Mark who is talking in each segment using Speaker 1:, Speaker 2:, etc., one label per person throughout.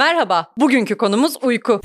Speaker 1: Merhaba. Bugünkü konumuz uyku.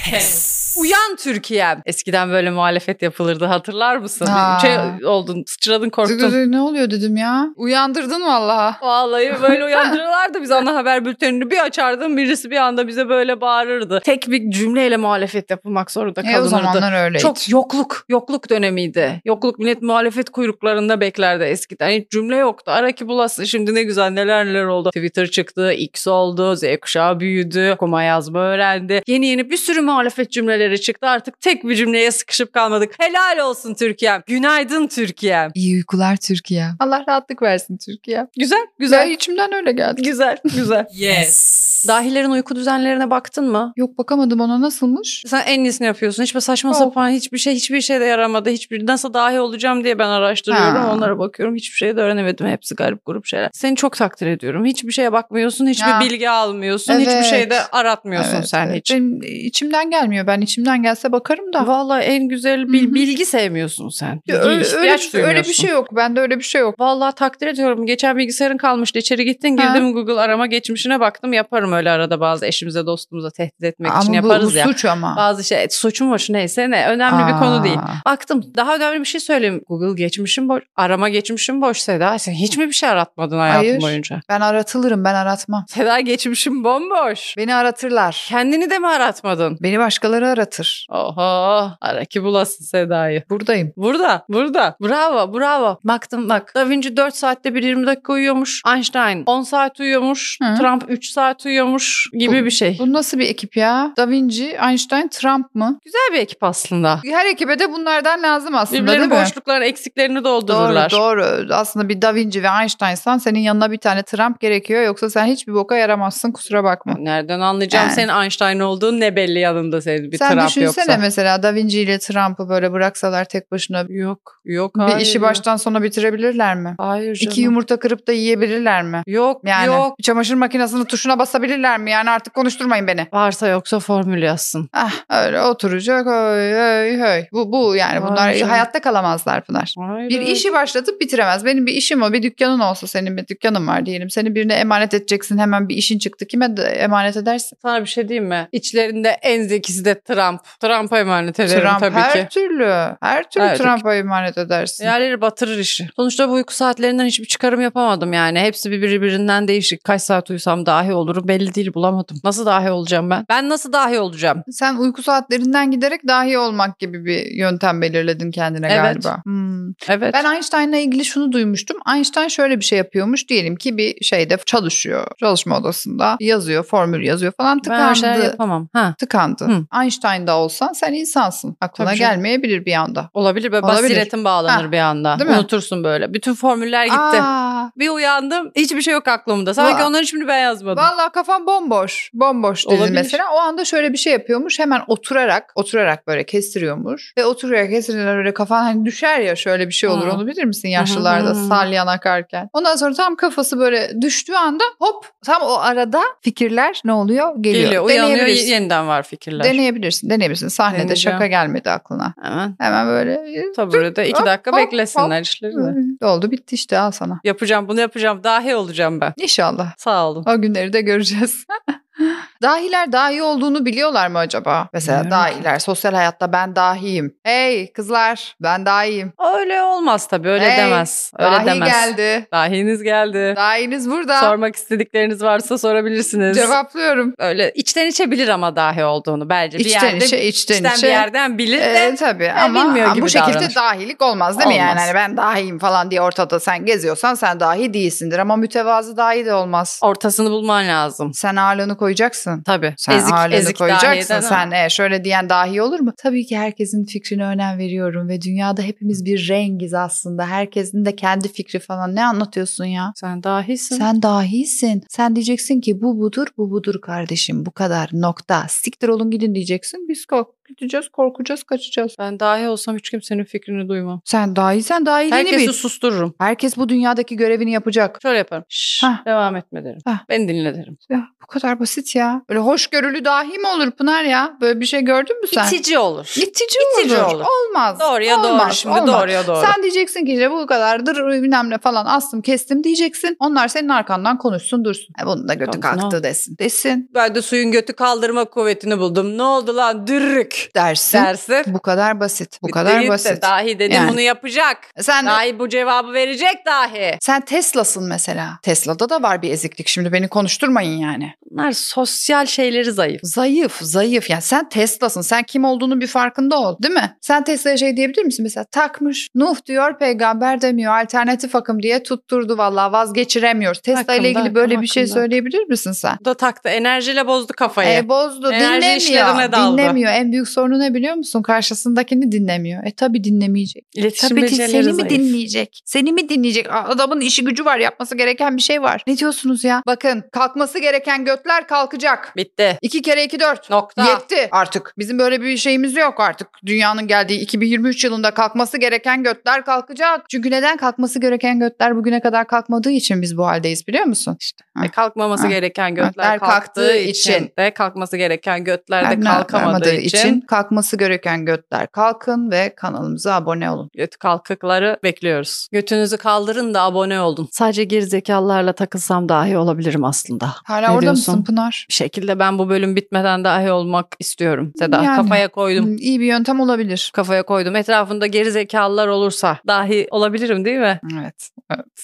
Speaker 1: Uyan Türkiye'm. Eskiden böyle muhalefet yapılırdı hatırlar mısın?
Speaker 2: Aa.
Speaker 1: Şey oldun, sıçradın korktun.
Speaker 2: Ne oluyor dedim ya? Uyandırdın vallaha.
Speaker 1: Vallahi böyle uyandırırlardı biz ana haber bültenini bir açardım birisi bir anda bize böyle bağırırdı. Tek bir cümleyle muhalefet yapılmak zorunda
Speaker 2: E o
Speaker 1: kalınırdı.
Speaker 2: zamanlar öyleydi.
Speaker 1: Çok yokluk, yokluk dönemiydi. Yokluk millet muhalefet kuyruklarında beklerdi eskiden. Hiç cümle yoktu. Ara ki bulasın şimdi ne güzel neler neler oldu. Twitter çıktı, X oldu, Z kuşağı büyüdü, okuma yazma öğrendi. Yeni yeni bir sürü muhalefet cümleleri çıktı. Artık tek bir cümleye sıkışıp kalmadık. Helal olsun Türkiye'm, günaydın Türkiye'm.
Speaker 2: İyi uykular Türkiye. Allah rahatlık versin Türkiye.
Speaker 1: Güzel,
Speaker 2: Güzel.
Speaker 1: güzel.
Speaker 2: içimden öyle geldi.
Speaker 1: Güzel, güzel.
Speaker 3: Yes.
Speaker 1: Dahilerin uyku düzenlerine baktın mı?
Speaker 2: Yok bakamadım ona nasılmış?
Speaker 1: Sen en iyisini yapıyorsun. Hiçbir saçma
Speaker 2: Oh.
Speaker 1: sapan hiçbir şey hiçbir şey de yaramadı. Hiçbir nasıl dahi olacağım diye ben araştırıyorum.
Speaker 2: Ha.
Speaker 1: Onlara bakıyorum. Hiçbir şey de öğrenemedim. Hepsi garip grup şeyler. Seni çok takdir ediyorum. Hiçbir şeye bakmıyorsun. Hiçbir
Speaker 2: Ya.
Speaker 1: bilgi almıyorsun. Hiçbir
Speaker 2: Evet.
Speaker 1: şey de aratmıyorsun
Speaker 2: Evet,
Speaker 1: sen
Speaker 2: evet.
Speaker 1: hiç.
Speaker 2: Benim içimden gelmiyor. Ben içimden gelse bakarım da.
Speaker 1: Vallahi en güzel bil-
Speaker 2: Hı hı.
Speaker 1: bilgi sevmiyorsun sen. Bilgi
Speaker 2: Ö- öyle,
Speaker 1: ihtiyaç
Speaker 2: öyle bir
Speaker 1: duymuyorsun.
Speaker 2: şey yok. Bende öyle bir şey yok.
Speaker 1: Vallahi takdir ediyorum. Geçen bilgisayarın kalmıştı. İçeri gittin
Speaker 2: Ha.
Speaker 1: girdim Google arama geçmişine baktım. Yaparım öyle arada bazı eşimize dostumuza tehdit etmek için
Speaker 2: Ama bu, bu
Speaker 1: yaparız ya.
Speaker 2: suç ama.
Speaker 1: Bazı şey suçum hoş neyse ne önemli bir konu değil.
Speaker 2: Aa.
Speaker 1: Baktım daha önemli bir şey söyleyeyim. Google geçmişim boş, arama geçmişim boş Seda. Sen hiç mi bir şey aratmadın hayatın
Speaker 2: Hayır.
Speaker 1: boyunca?
Speaker 2: Ben aratılırım ben aratmam.
Speaker 1: Seda geçmişim bomboş.
Speaker 2: Beni aratırlar.
Speaker 1: Kendini de mi aratmadın?
Speaker 2: Beni başkaları aratır.
Speaker 1: Oho ara ki bulasın Seda'yı.
Speaker 2: Buradayım.
Speaker 1: Burada, burada. Bravo, bravo. Baktım bak. Da Vinci 4 saatte bir 20 dakika uyuyormuş. Einstein 10 saat uyuyormuş.
Speaker 2: Hı.
Speaker 1: Trump 3 saat uyuyormuş gibi
Speaker 2: Bu-
Speaker 1: bir şey.
Speaker 2: Bu nasıl bir ekip ya? Da Vinci, Einstein, Trump mı?
Speaker 1: Güzel bir ekip aslında.
Speaker 2: Her ekibe de bunlardan lazım aslında
Speaker 1: Birbirlerinin
Speaker 2: değil mi?
Speaker 1: boşluklarını, eksiklerini
Speaker 2: Doğru,
Speaker 1: doldururlar.
Speaker 2: doğru. Aslında bir Da Vinci ve Einstein'san senin yanına bir tane Trump gerekiyor. Yoksa sen hiçbir boka yaramazsın kusura bakma.
Speaker 1: Nereden anlayacağım
Speaker 2: Yani.
Speaker 1: senin Einstein olduğun ne belli yanında senin bir
Speaker 2: sen
Speaker 1: Trump
Speaker 2: düşünsene
Speaker 1: yoksa.
Speaker 2: mesela Da Vinci ile Trump'ı böyle bıraksalar tek başına.
Speaker 1: Yok yok
Speaker 2: bir
Speaker 1: hayır.
Speaker 2: işi
Speaker 1: ya.
Speaker 2: baştan sona bitirebilirler mi?
Speaker 1: Hayır canım.
Speaker 2: İki yumurta kırıp da yiyebilirler mi?
Speaker 1: Yok
Speaker 2: Yani
Speaker 1: yok.
Speaker 2: bir çamaşır makinesinin tuşuna basabilirler mi? Yani artık konuşturmayın beni.
Speaker 1: Varsa yoksa formül yazsın.
Speaker 2: Ah öyle oturacak öy öy öy. Bu, bu yani
Speaker 1: Vay
Speaker 2: bunlar
Speaker 1: canına.
Speaker 2: hayatta kalamazlar Pınar.
Speaker 1: Hayır.
Speaker 2: Bir işi başlatıp bitiremez. Benim bir işim o. Bir dükkanın olsa senin bir dükkanın var diyelim. Seni birine emanet edeceksin. Hemen bir işin çıktı. Kime de emanet edersin?
Speaker 1: Sana bir şey diyeyim mi? İçlerinde en zekisi de Trump. Trump'a emanet ederim
Speaker 2: Trump
Speaker 1: tabii
Speaker 2: her
Speaker 1: ki.
Speaker 2: türlü. Her türlü
Speaker 1: Evet.
Speaker 2: Trump'a emanet edersin.
Speaker 1: Yerleri batırır işi. Sonuçta bu uyku saatlerinden hiçbir çıkarım yapamadım yani. Hepsi bir- birbirinden değişik. Kaç saat uyusam dahi olurum belli değil bulamadım. Nasıl dahi olacağım ben? Ben nasıl dahi olacağım?
Speaker 2: Sen uyku saatlerinden giderek dahi olmak gibi bir yöntem belirledin kendine
Speaker 1: Evet.
Speaker 2: galiba. Hmm.
Speaker 1: Evet.
Speaker 2: Ben Einstein'la ilgili şunu duymuştum. Einstein şöyle bir şey yapıyormuş. Diyelim ki bir şeyde çalışıyor. Çalışma odasında yazıyor, formül yazıyor falan.
Speaker 1: ben her
Speaker 2: Tıkandı.
Speaker 1: şeyler yapamam. Ha.
Speaker 2: tıkandı.
Speaker 1: Hı.
Speaker 2: Einstein da olsan sen insansın. Aklına
Speaker 1: Tabii canım.
Speaker 2: gelmeyebilir bir anda.
Speaker 1: Olabilir böyle
Speaker 2: Olabilir.
Speaker 1: basiretin bağlanır
Speaker 2: Ha,
Speaker 1: bir anda.
Speaker 2: değil mi?
Speaker 1: Unutursun böyle. Bütün formüller gitti.
Speaker 2: Aa,
Speaker 1: Bir uyandım hiçbir şey yok aklımda. Sanki
Speaker 2: Va-
Speaker 1: onları şimdi ben yazmadım.
Speaker 2: Vallahi kafam bomboş. Bomboş dedi
Speaker 1: Olabilir.
Speaker 2: mesela. O anda şöyle bir şey yapıyormuş. Hemen oturarak, oturarak böyle kestiriyormuş. Ve oturarak kestirirler öyle kafan hani düşer ya şöyle bir şey olur.
Speaker 1: Hı.
Speaker 2: Onu bilir misin yaşlılarda
Speaker 1: Hı hı hı.
Speaker 2: salyan akarken. Ondan sonra tam kafası böyle düştüğü anda hop tam o arada fikirler ne oluyor? Geliyor.
Speaker 1: Geliyor uyanıyor
Speaker 2: Deneyebilirsin.
Speaker 1: yeniden var fikirler.
Speaker 2: Deneyebilirsin, deneyebilirsin. Sahnede
Speaker 1: Deneyeceğim.
Speaker 2: şaka gelmedi aklına.
Speaker 1: Hemen
Speaker 2: Hemen böyle e,
Speaker 1: taburede iki
Speaker 2: Hop,
Speaker 1: dakika
Speaker 2: hop,
Speaker 1: beklesinler işlerini.
Speaker 2: oldu bitti işte al sana.
Speaker 1: Yapacağım bunu yapacağım dahi olacağım ben.
Speaker 2: İnşallah.
Speaker 1: Sağ olun.
Speaker 2: O günleri de göreceğiz. Dahiler dahi olduğunu biliyorlar mı acaba? Mesela
Speaker 1: Bilmiyorum
Speaker 2: dahiler sosyal hayatta ben dahiyim. Hey kızlar ben dahiyim.
Speaker 1: Öyle olmaz tabii öyle
Speaker 2: Hey,
Speaker 1: demez. Öyle
Speaker 2: Dahi
Speaker 1: demez.
Speaker 2: geldi.
Speaker 1: Dahiniz geldi.
Speaker 2: Dahiniz burada.
Speaker 1: Sormak istedikleriniz varsa sorabilirsiniz.
Speaker 2: Cevaplıyorum.
Speaker 1: Öyle içten içe bilir ama dahi olduğunu bence. E, Bir
Speaker 2: içten
Speaker 1: yerde,
Speaker 2: içe içten
Speaker 1: içten
Speaker 2: içe.
Speaker 1: bir yerden bilir de
Speaker 2: Ee, tabii ama,
Speaker 1: bilmiyor
Speaker 2: ama
Speaker 1: gibi
Speaker 2: bu şekilde
Speaker 1: davranır.
Speaker 2: dahilik olmaz değil mi? Yani
Speaker 1: Olmaz.
Speaker 2: hani ben dahiyim falan diye ortada sen geziyorsan sen dahi değilsindir ama mütevazı dahi de olmaz.
Speaker 1: ortasını bulman lazım.
Speaker 2: Sen ağırlığını koyacaksın.
Speaker 1: Tabii.
Speaker 2: Sen
Speaker 1: ezik
Speaker 2: ağırlığını
Speaker 1: ezik
Speaker 2: koyacaksın.
Speaker 1: dahiyeden ama-
Speaker 2: Sen e, şöyle diyen dahi olur mu? Tabii ki herkesin fikrine önem veriyorum ve dünyada hepimiz bir rengiz aslında. Herkesin de kendi fikri falan. Ne anlatıyorsun ya?
Speaker 1: Sen dahisin.
Speaker 2: Sen dahisin. Sen diyeceksin ki bu budur, bu budur kardeşim. Bu kadar nokta. Siktir olun gidin diyeceksin. Biz kalk. gideceğiz, korkacağız, kaçacağız.
Speaker 1: Ben dahi olsam hiç kimsenin fikrini duymam.
Speaker 2: Sen daha iyi, sen daha iyiliğini
Speaker 1: Herkesi
Speaker 2: bil.
Speaker 1: sustururum.
Speaker 2: Herkes bu dünyadaki görevini yapacak.
Speaker 1: Şöyle yaparım. Şşş,
Speaker 2: Hah.
Speaker 1: devam etme derim.
Speaker 2: Hah.
Speaker 1: Beni dinle derim.
Speaker 2: Ya, bu kadar basit ya. Öyle hoşgörülü dahi mi olur Pınar ya? Böyle bir şey gördün mü sen?
Speaker 1: İtici olur.
Speaker 2: İtici,
Speaker 1: İtici
Speaker 2: olur.
Speaker 1: olur.
Speaker 2: Olmaz.
Speaker 1: Doğruya doğru
Speaker 2: Olmaz,
Speaker 1: şimdi
Speaker 2: olmaz.
Speaker 1: doğruya doğru.
Speaker 2: Sen diyeceksin ki işte bu kadardır bilmem ne falan astım kestim diyeceksin. Onlar senin arkandan konuşsun dursun. E bunun da götü
Speaker 1: Tamam,
Speaker 2: kalktı
Speaker 1: tamam.
Speaker 2: desin. Desin.
Speaker 1: Ben de suyun götü kaldırma kuvvetini buldum. Ne oldu lan dürrük
Speaker 2: Dersin.
Speaker 1: dersin.
Speaker 2: Bu kadar basit. Bu
Speaker 1: Bir
Speaker 2: kadar
Speaker 1: değil de
Speaker 2: basit.
Speaker 1: dahi dedim
Speaker 2: Yani.
Speaker 1: bunu yapacak.
Speaker 2: Sen
Speaker 1: Dahi bu cevabı verecek dahi.
Speaker 2: sen Tesla'sın mesela. Tesla'da da var bir eziklik. Şimdi beni konuşturmayın yani.
Speaker 1: Bunlar sosyal şeyleri zayıf.
Speaker 2: Zayıf, zayıf. Yani sen Tesla'sın. Sen kim olduğunu bir farkında ol, değil mi? Sen Tesla'ya şey diyebilir misin mesela? Takmış. Nuh diyor, peygamber demiyor. Alternatif akım diye tutturdu vallahi. Vazgeçiremiyoruz. Tesla ile
Speaker 1: Hakkında,
Speaker 2: ilgili böyle
Speaker 1: hakkım
Speaker 2: bir şey
Speaker 1: hakkında.
Speaker 2: söyleyebilir misin sen?
Speaker 1: Bu da taktı enerjiyle bozdu kafayı.
Speaker 2: E, bozdu.
Speaker 1: Enerji işlerine
Speaker 2: dinlemiyor.
Speaker 1: daldı.
Speaker 2: Dinlemiyor. En büyük sorunu ne biliyor musun? Karşısındakini dinlemiyor. E tabii dinlemeyecek.
Speaker 1: İletişim
Speaker 2: Tabii ki
Speaker 1: becerileri
Speaker 2: seni mi
Speaker 1: zayıf.
Speaker 2: dinleyecek? Seni mi dinleyecek? A- Adamın işi gücü var. Yapması gereken bir şey var. Ne diyorsunuz ya? Bakın kalkması gereken götler kalkacak.
Speaker 1: Bitti.
Speaker 2: İki kere iki dört.
Speaker 1: Nokta.
Speaker 2: Yetti artık. Bizim böyle bir şeyimiz yok artık. Dünyanın geldiği 2023 yılında kalkması gereken götler kalkacak. Çünkü neden kalkması gereken götler bugüne kadar kalkmadığı için biz bu haldeyiz biliyor musun? İşte.
Speaker 1: E, kalkmaması
Speaker 2: Ah.
Speaker 1: gereken götler
Speaker 2: Götler
Speaker 1: kalktığı
Speaker 2: kalktığı
Speaker 1: için.
Speaker 2: için.
Speaker 1: de kalkması gereken götler de kalkamadığı için,
Speaker 2: kalkması gereken götler kalkın ve kanalımıza abone olun.
Speaker 1: göt kalkıkları bekliyoruz. Götünüzü kaldırın da abone olun. Sadece gerizekalılarla takılsam dahi olabilirim aslında.
Speaker 2: Hala
Speaker 1: Ne
Speaker 2: orada
Speaker 1: diyorsun?
Speaker 2: mısın Pınar?
Speaker 1: Bir şekilde ben bu bölüm bitmeden dahi olmak istiyorum. Seda
Speaker 2: Yani.
Speaker 1: kafaya koydum.
Speaker 2: Hmm, İyi bir yöntem olabilir.
Speaker 1: Kafaya koydum. Etrafında gerizekalılar olursa dahi olabilirim değil mi?
Speaker 2: Evet.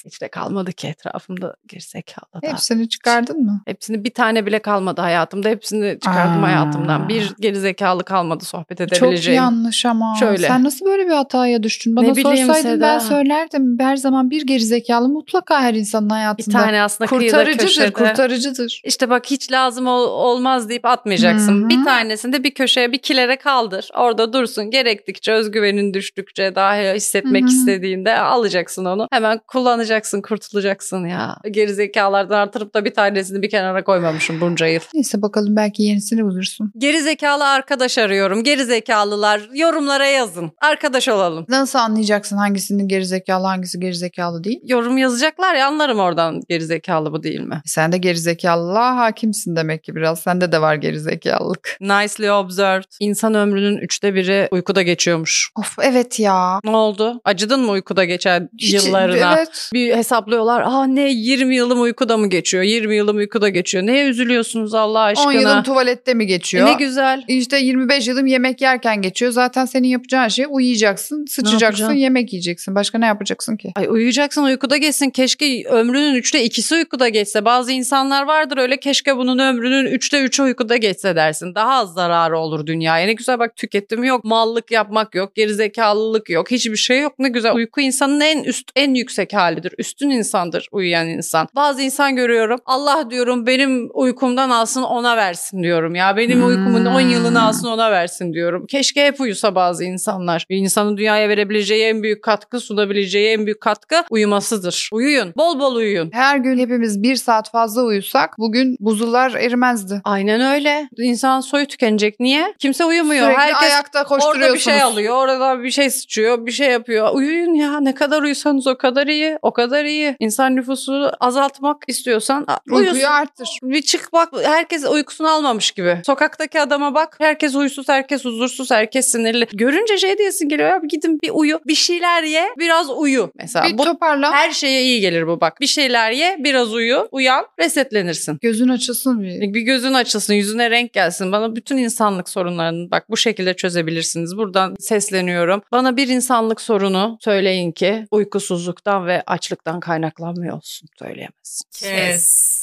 Speaker 1: Hiç de kalmadı ki etrafımda gerizekalı da.
Speaker 2: Hepsini çıkardın mı?
Speaker 1: Hepsini bir tane bile kalmadı hayatımda. Hepsini çıkardım
Speaker 2: Aa.
Speaker 1: hayatımdan. Bir gerizekalı kalmadı sohbet
Speaker 2: Çok
Speaker 1: edebileceğim.
Speaker 2: yanlış ama.
Speaker 1: Şöyle.
Speaker 2: Sen nasıl böyle bir hataya düştün? Bana
Speaker 1: Ne bileyim
Speaker 2: sorsaydın
Speaker 1: Seda.
Speaker 2: ben söylerdim. Her zaman bir gerizekalı mutlaka her insanın
Speaker 1: Bir
Speaker 2: hayatında.
Speaker 1: tane aslında kıyıda köşede.
Speaker 2: kurtarıcıdır, kurtarıcıdır.
Speaker 1: İşte bak hiç lazım ol- olmaz deyip atmayacaksın.
Speaker 2: Hı hı.
Speaker 1: Bir tanesini de bir köşeye bir kilere kaldır. Orada dursun. Gerektikçe özgüvenin düştükçe dahi hissetmek
Speaker 2: Hı hı.
Speaker 1: istediğinde alacaksın onu. Hemen kullanacaksın kurtulacaksın ya. Gerizekalardan artırıp da bir tanesini bir kenara koymamışım bunca yıl.
Speaker 2: Neyse bakalım belki yenisini bulursun.
Speaker 1: Gerizekalı arkadaş arıyorum. Gerizekalılar yorumlara yazın. Arkadaş olalım.
Speaker 2: Nasıl anlayacaksın hangisinin gerizekalı hangisi gerizekalı değil?
Speaker 1: Yorum yazacaklar ya anlarım oradan gerizekalı bu değil mi?
Speaker 2: Sen de gerizekalılığa hakimsin demek ki biraz. Sende de var gerizekalılık.
Speaker 1: Nicely observed. İnsan ömrünün üçte biri uykuda geçiyormuş.
Speaker 2: Of evet ya.
Speaker 1: Ne oldu? Acıdın mı uykuda geçen
Speaker 2: Hiç-
Speaker 1: yıllarına?
Speaker 2: Evet.
Speaker 1: Bir hesaplıyorlar. Aa ne 20 yılım uykuda mı geçiyor? 20 yılım uykuda geçiyor. Neye üzülüyorsunuz Allah
Speaker 2: 10 yılım
Speaker 1: aşkına?
Speaker 2: tuvalette mi
Speaker 1: E,
Speaker 2: geçiyor?
Speaker 1: ne güzel.
Speaker 2: İşte 25 yılım yemek yerken geçiyor. Zaten senin yapacağın şey uyuyacaksın, sıçacaksın,
Speaker 1: yapacağım?
Speaker 2: yemek yiyeceksin. Başka ne yapacaksın ki?
Speaker 1: Ay uyuyacaksın uykuda geçsin. Keşke ömrünün üçte ikisi uykuda geçse. Bazı insanlar vardır öyle keşke bunun ömrünün üçte üçü uykuda geçse dersin. Daha az zararı olur dünyaya. Ne güzel bak tüketim yok. Mallık yapmak yok. Gerizekalılık yok. Hiçbir şey yok. Ne güzel. Uyku insanın en üst, en yüksek halidir. Üstün insandır uyuyan insan. Bazı insan görüyorum. Allah diyorum benim uykumdan alsın ona versin diyorum ya. Benim uykumun 10 yılını
Speaker 2: Hmm.
Speaker 1: alsın olsun ona versin diyorum. Keşke hep uyusa bazı insanlar. Bir insanın dünyaya verebileceği en büyük katkı, sunabileceği en büyük katkı uyumasıdır. Uyuyun. Bol bol uyuyun.
Speaker 2: Her gün hepimiz bir saat fazla uyusak bugün buzullar erimezdi.
Speaker 1: Aynen öyle. İnsan soyu tükenecek. Niye? Kimse uyumuyor.
Speaker 2: Sürekli
Speaker 1: Herkes
Speaker 2: ayakta koşturuyorsunuz.
Speaker 1: orada bir şey alıyor. Orada bir şey sıçıyor. Bir şey yapıyor. Uyuyun ya. Ne kadar uyusanız o kadar iyi. O kadar iyi. İnsan nüfusunu azaltmak istiyorsan a- uyusun.
Speaker 2: Uykuyu arttır.
Speaker 1: Bir çık bak herkes uykusunu almamış gibi. Sokaktaki adama bak herkes huysuz, herkes huzursuz, herkes sinirli. Görünce şey diyesin geliyor ya gidin bir uyu, bir şeyler ye, biraz uyu. Mesela
Speaker 2: Bir
Speaker 1: bu
Speaker 2: toparla.
Speaker 1: her şeye iyi gelir bu bak. Bir şeyler ye, biraz uyu, uyan, resetlenirsin.
Speaker 2: Gözün açılsın bir.
Speaker 1: Hani Bir gözün açılsın, yüzüne renk gelsin. Bana bütün insanlık sorunlarını bak bu şekilde çözebilirsiniz. Buradan sesleniyorum. Bana bir insanlık sorunu söyleyin ki uykusuzluktan ve açlıktan kaynaklanmıyor olsun. Söyleyemezsin.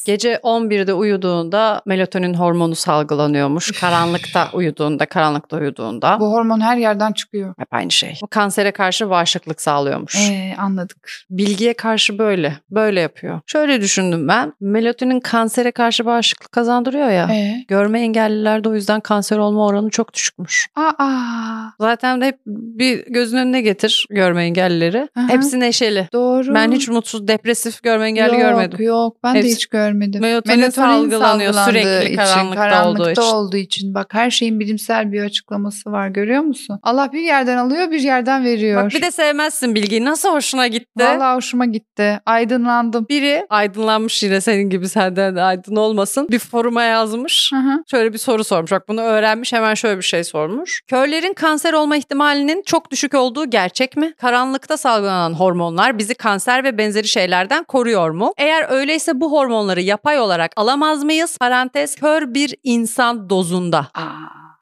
Speaker 1: Gece 11'de uyuduğunda melatonin hormonu salgılanıyormuş. Karanlıkta uyuduğunda, karanlıkta uyuduğunda.
Speaker 2: Bu hormon her yerden çıkıyor.
Speaker 1: Hep aynı şey. Bu kansere karşı bağışıklık sağlıyormuş.
Speaker 2: Ee, anladık.
Speaker 1: Bilgiye karşı böyle, böyle yapıyor. Şöyle düşündüm ben. Melatonin kansere karşı bağışıklık kazandırıyor ya.
Speaker 2: Ee?
Speaker 1: Görme engellilerde o yüzden kanser olma oranı çok düşükmüş.
Speaker 2: Aa,
Speaker 1: Zaten hep bir gözün önüne getir görme engellileri.
Speaker 2: Hı hı.
Speaker 1: Hepsi neşeli.
Speaker 2: doğru. Doğru.
Speaker 1: Ben hiç mutsuz, depresif, görme engelli
Speaker 2: yok,
Speaker 1: görmedim.
Speaker 2: Yok ben de
Speaker 1: Hepsi-
Speaker 2: hiç görmedim.
Speaker 1: Melatonin salgılanıyor
Speaker 2: salgılandığı
Speaker 1: sürekli karanlıkta olduğu için.
Speaker 2: olduğu için. Bak her şeyin bilimsel bir açıklaması var görüyor musun? Allah bir yerden alıyor bir yerden veriyor.
Speaker 1: Bak bir de sevmezsin bilgiyi. Nasıl hoşuna gitti?
Speaker 2: Vallahi hoşuma gitti. Aydınlandım.
Speaker 1: Biri aydınlanmış yine senin gibi senden de aydın olmasın. Bir foruma yazmış.
Speaker 2: Hı hı.
Speaker 1: Şöyle bir soru sormuş. Bak bunu öğrenmiş hemen şöyle bir şey sormuş. Körlerin kanser olma ihtimalinin çok düşük olduğu gerçek mi? Karanlıkta salgılanan hormonlar bizi kanser ve benzeri şeylerden koruyor mu? Eğer öyleyse bu hormonları yapay olarak alamaz mıyız? Parantez kör bir insan dozunda.
Speaker 2: Aa,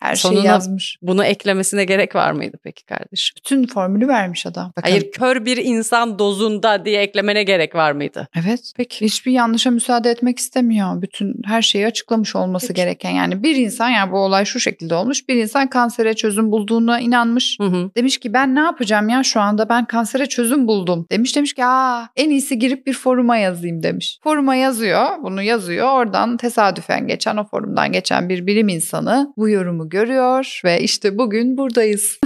Speaker 2: her şeyi
Speaker 1: Sonuna-
Speaker 2: yazmış.
Speaker 1: Bunu eklemesine gerek var mıydı peki kardeşim?
Speaker 2: Bütün formülü vermiş adam. Bakın.
Speaker 1: Hayır kör bir insan dozunda diye eklemene gerek var mıydı?
Speaker 2: Evet.
Speaker 1: Peki.
Speaker 2: Hiçbir yanlışa müsaade etmek istemiyor. Bütün her şeyi açıklamış olması
Speaker 1: Peki.
Speaker 2: gereken yani bir insan yani bu olay şu şekilde olmuş. Bir insan kansere çözüm bulduğuna inanmış.
Speaker 1: Hı hı.
Speaker 2: Demiş ki ben ne yapacağım ya şu anda ben kansere çözüm buldum. Demiş demiş ki aa en iyisi girip bir foruma yazayım demiş. Foruma yazıyor bunu yazıyor oradan tesadüfen geçen o forumdan geçen bir bilim insanı bu yorumu görüyor ve işte bugün buradayız.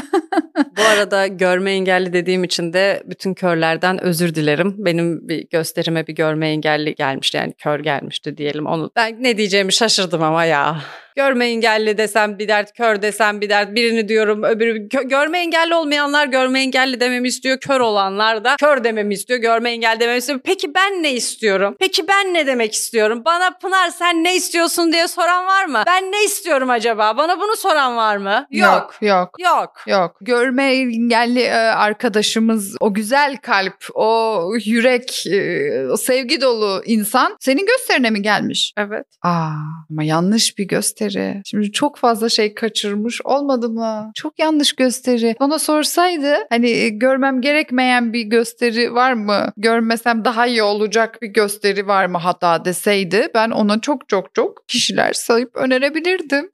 Speaker 1: Bu arada görme engelli dediğim için de bütün körlerden özür dilerim. Benim bir gösterime bir görme engelli gelmişti yani kör gelmişti diyelim onu. Ben ne diyeceğimi şaşırdım ama ya. Görme engelli desem bir dert, kör desem bir dert. Birini diyorum öbürü. Kö- görme engelli olmayanlar görme engelli dememi istiyor. Kör olanlar da kör dememi istiyor. Görme engelli dememi istiyor. Peki ben ne istiyorum? Peki ben ne demek istiyorum? Bana Pınar sen ne istiyorsun diye soran var mı? Ben ne istiyorum acaba? Bana bunu soran var mı? Yok.
Speaker 2: yok.
Speaker 1: Yok.
Speaker 2: Yok. Görme engelli e, arkadaşımız, o güzel kalp, o yürek, e, o sevgi dolu insan senin gösterine mi gelmiş?
Speaker 1: Evet.
Speaker 2: Aa, ama yanlış bir gösteri. Şimdi çok fazla şey kaçırmış olmadı mı? Çok yanlış gösteri. Bana sorsaydı hani e, görmem gerekmeyen bir gösteri var mı? Görmesem daha iyi olacak bir gösteri var mı hatta deseydi ben ona çok çok çok kişiler sayıp önerebilirdim.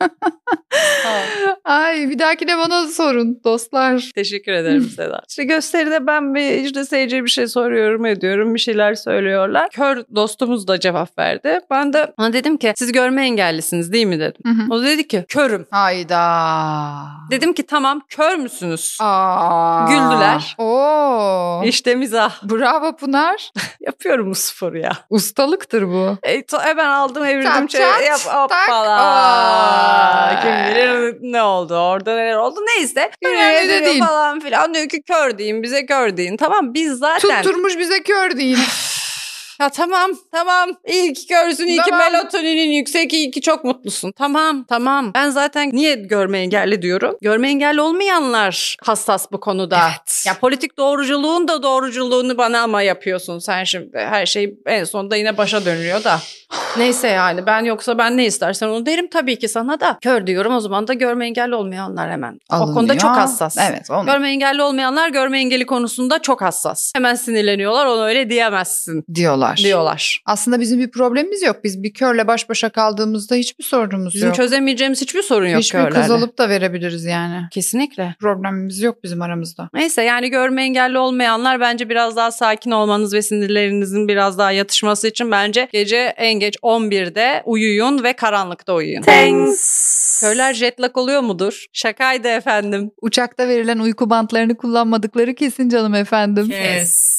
Speaker 2: Ay bir dahakine bana sorun dostlar.
Speaker 1: Teşekkür ederim Seda. Hmm. İşte gösteride ben bir işte seyirciye bir şey soruyorum ediyorum. Bir şeyler söylüyorlar. Kör dostumuz da cevap verdi. Ben de ona dedim ki siz görme engellisiniz değil mi dedim. O da dedi ki körüm.
Speaker 2: Hayda.
Speaker 1: Dedim ki tamam kör müsünüz?
Speaker 2: Aa.
Speaker 1: Güldüler.
Speaker 2: Oo.
Speaker 1: İşte mizah.
Speaker 2: Bravo Pınar.
Speaker 1: Yapıyorum bu sporu ya.
Speaker 2: Ustalıktır bu.
Speaker 1: E, to- hemen aldım evirdim.
Speaker 2: Çat,
Speaker 1: Çat,
Speaker 2: çat,
Speaker 1: yap,
Speaker 2: tak,
Speaker 1: hoppala.
Speaker 2: aa.
Speaker 1: Kim bilir ne oldu orada neler oldu neyse.
Speaker 2: Önemli
Speaker 1: Önemli
Speaker 2: de
Speaker 1: diyor
Speaker 2: değil.
Speaker 1: Falan filan diyor ki kör deyin bize kör deyin. Tamam biz zaten.
Speaker 2: Tutturmuş bize kör değil.
Speaker 1: Ya tamam tamam iyi ki görsün iyi
Speaker 2: Tamam.
Speaker 1: ki melatoninin yüksek iyi ki çok mutlusun. Tamam tamam ben zaten niye görme engelli diyorum. Görme engelli olmayanlar hassas bu konuda.
Speaker 2: Evet.
Speaker 1: Ya politik doğruculuğun da doğruculuğunu bana ama yapıyorsun sen şimdi. Her şey en sonunda yine başa dönüyor da. Neyse yani ben yoksa ben ne istersen onu derim tabii ki sana da. Kör diyorum o zaman da görme engelli olmayanlar hemen. O konuda
Speaker 2: Alınıyor.
Speaker 1: çok hassas.
Speaker 2: Evet. Onu.
Speaker 1: Görme engelli olmayanlar görme engeli konusunda çok hassas. Hemen sinirleniyorlar onu öyle diyemezsin
Speaker 2: diyorlar.
Speaker 1: diyorlar.
Speaker 2: Aslında bizim bir problemimiz yok. Biz bir körle baş başa kaldığımızda hiçbir sorunumuz
Speaker 1: Bizim
Speaker 2: yok.
Speaker 1: çözemeyeceğimiz hiçbir sorun yok
Speaker 2: hiçbir
Speaker 1: körlerde.
Speaker 2: kız alıp da verebiliriz yani.
Speaker 1: Kesinlikle.
Speaker 2: Problemimiz yok bizim aramızda.
Speaker 1: Neyse yani görme engelli olmayanlar bence biraz daha sakin olmanız ve sinirlerinizin biraz daha yatışması için bence gece en geç 11'de uyuyun ve karanlıkta uyuyun.
Speaker 2: Thanks.
Speaker 1: Körler jet lag oluyor mudur? Şakaydı efendim.
Speaker 2: Uçakta verilen uyku bantlarını kullanmadıkları kesin canım efendim.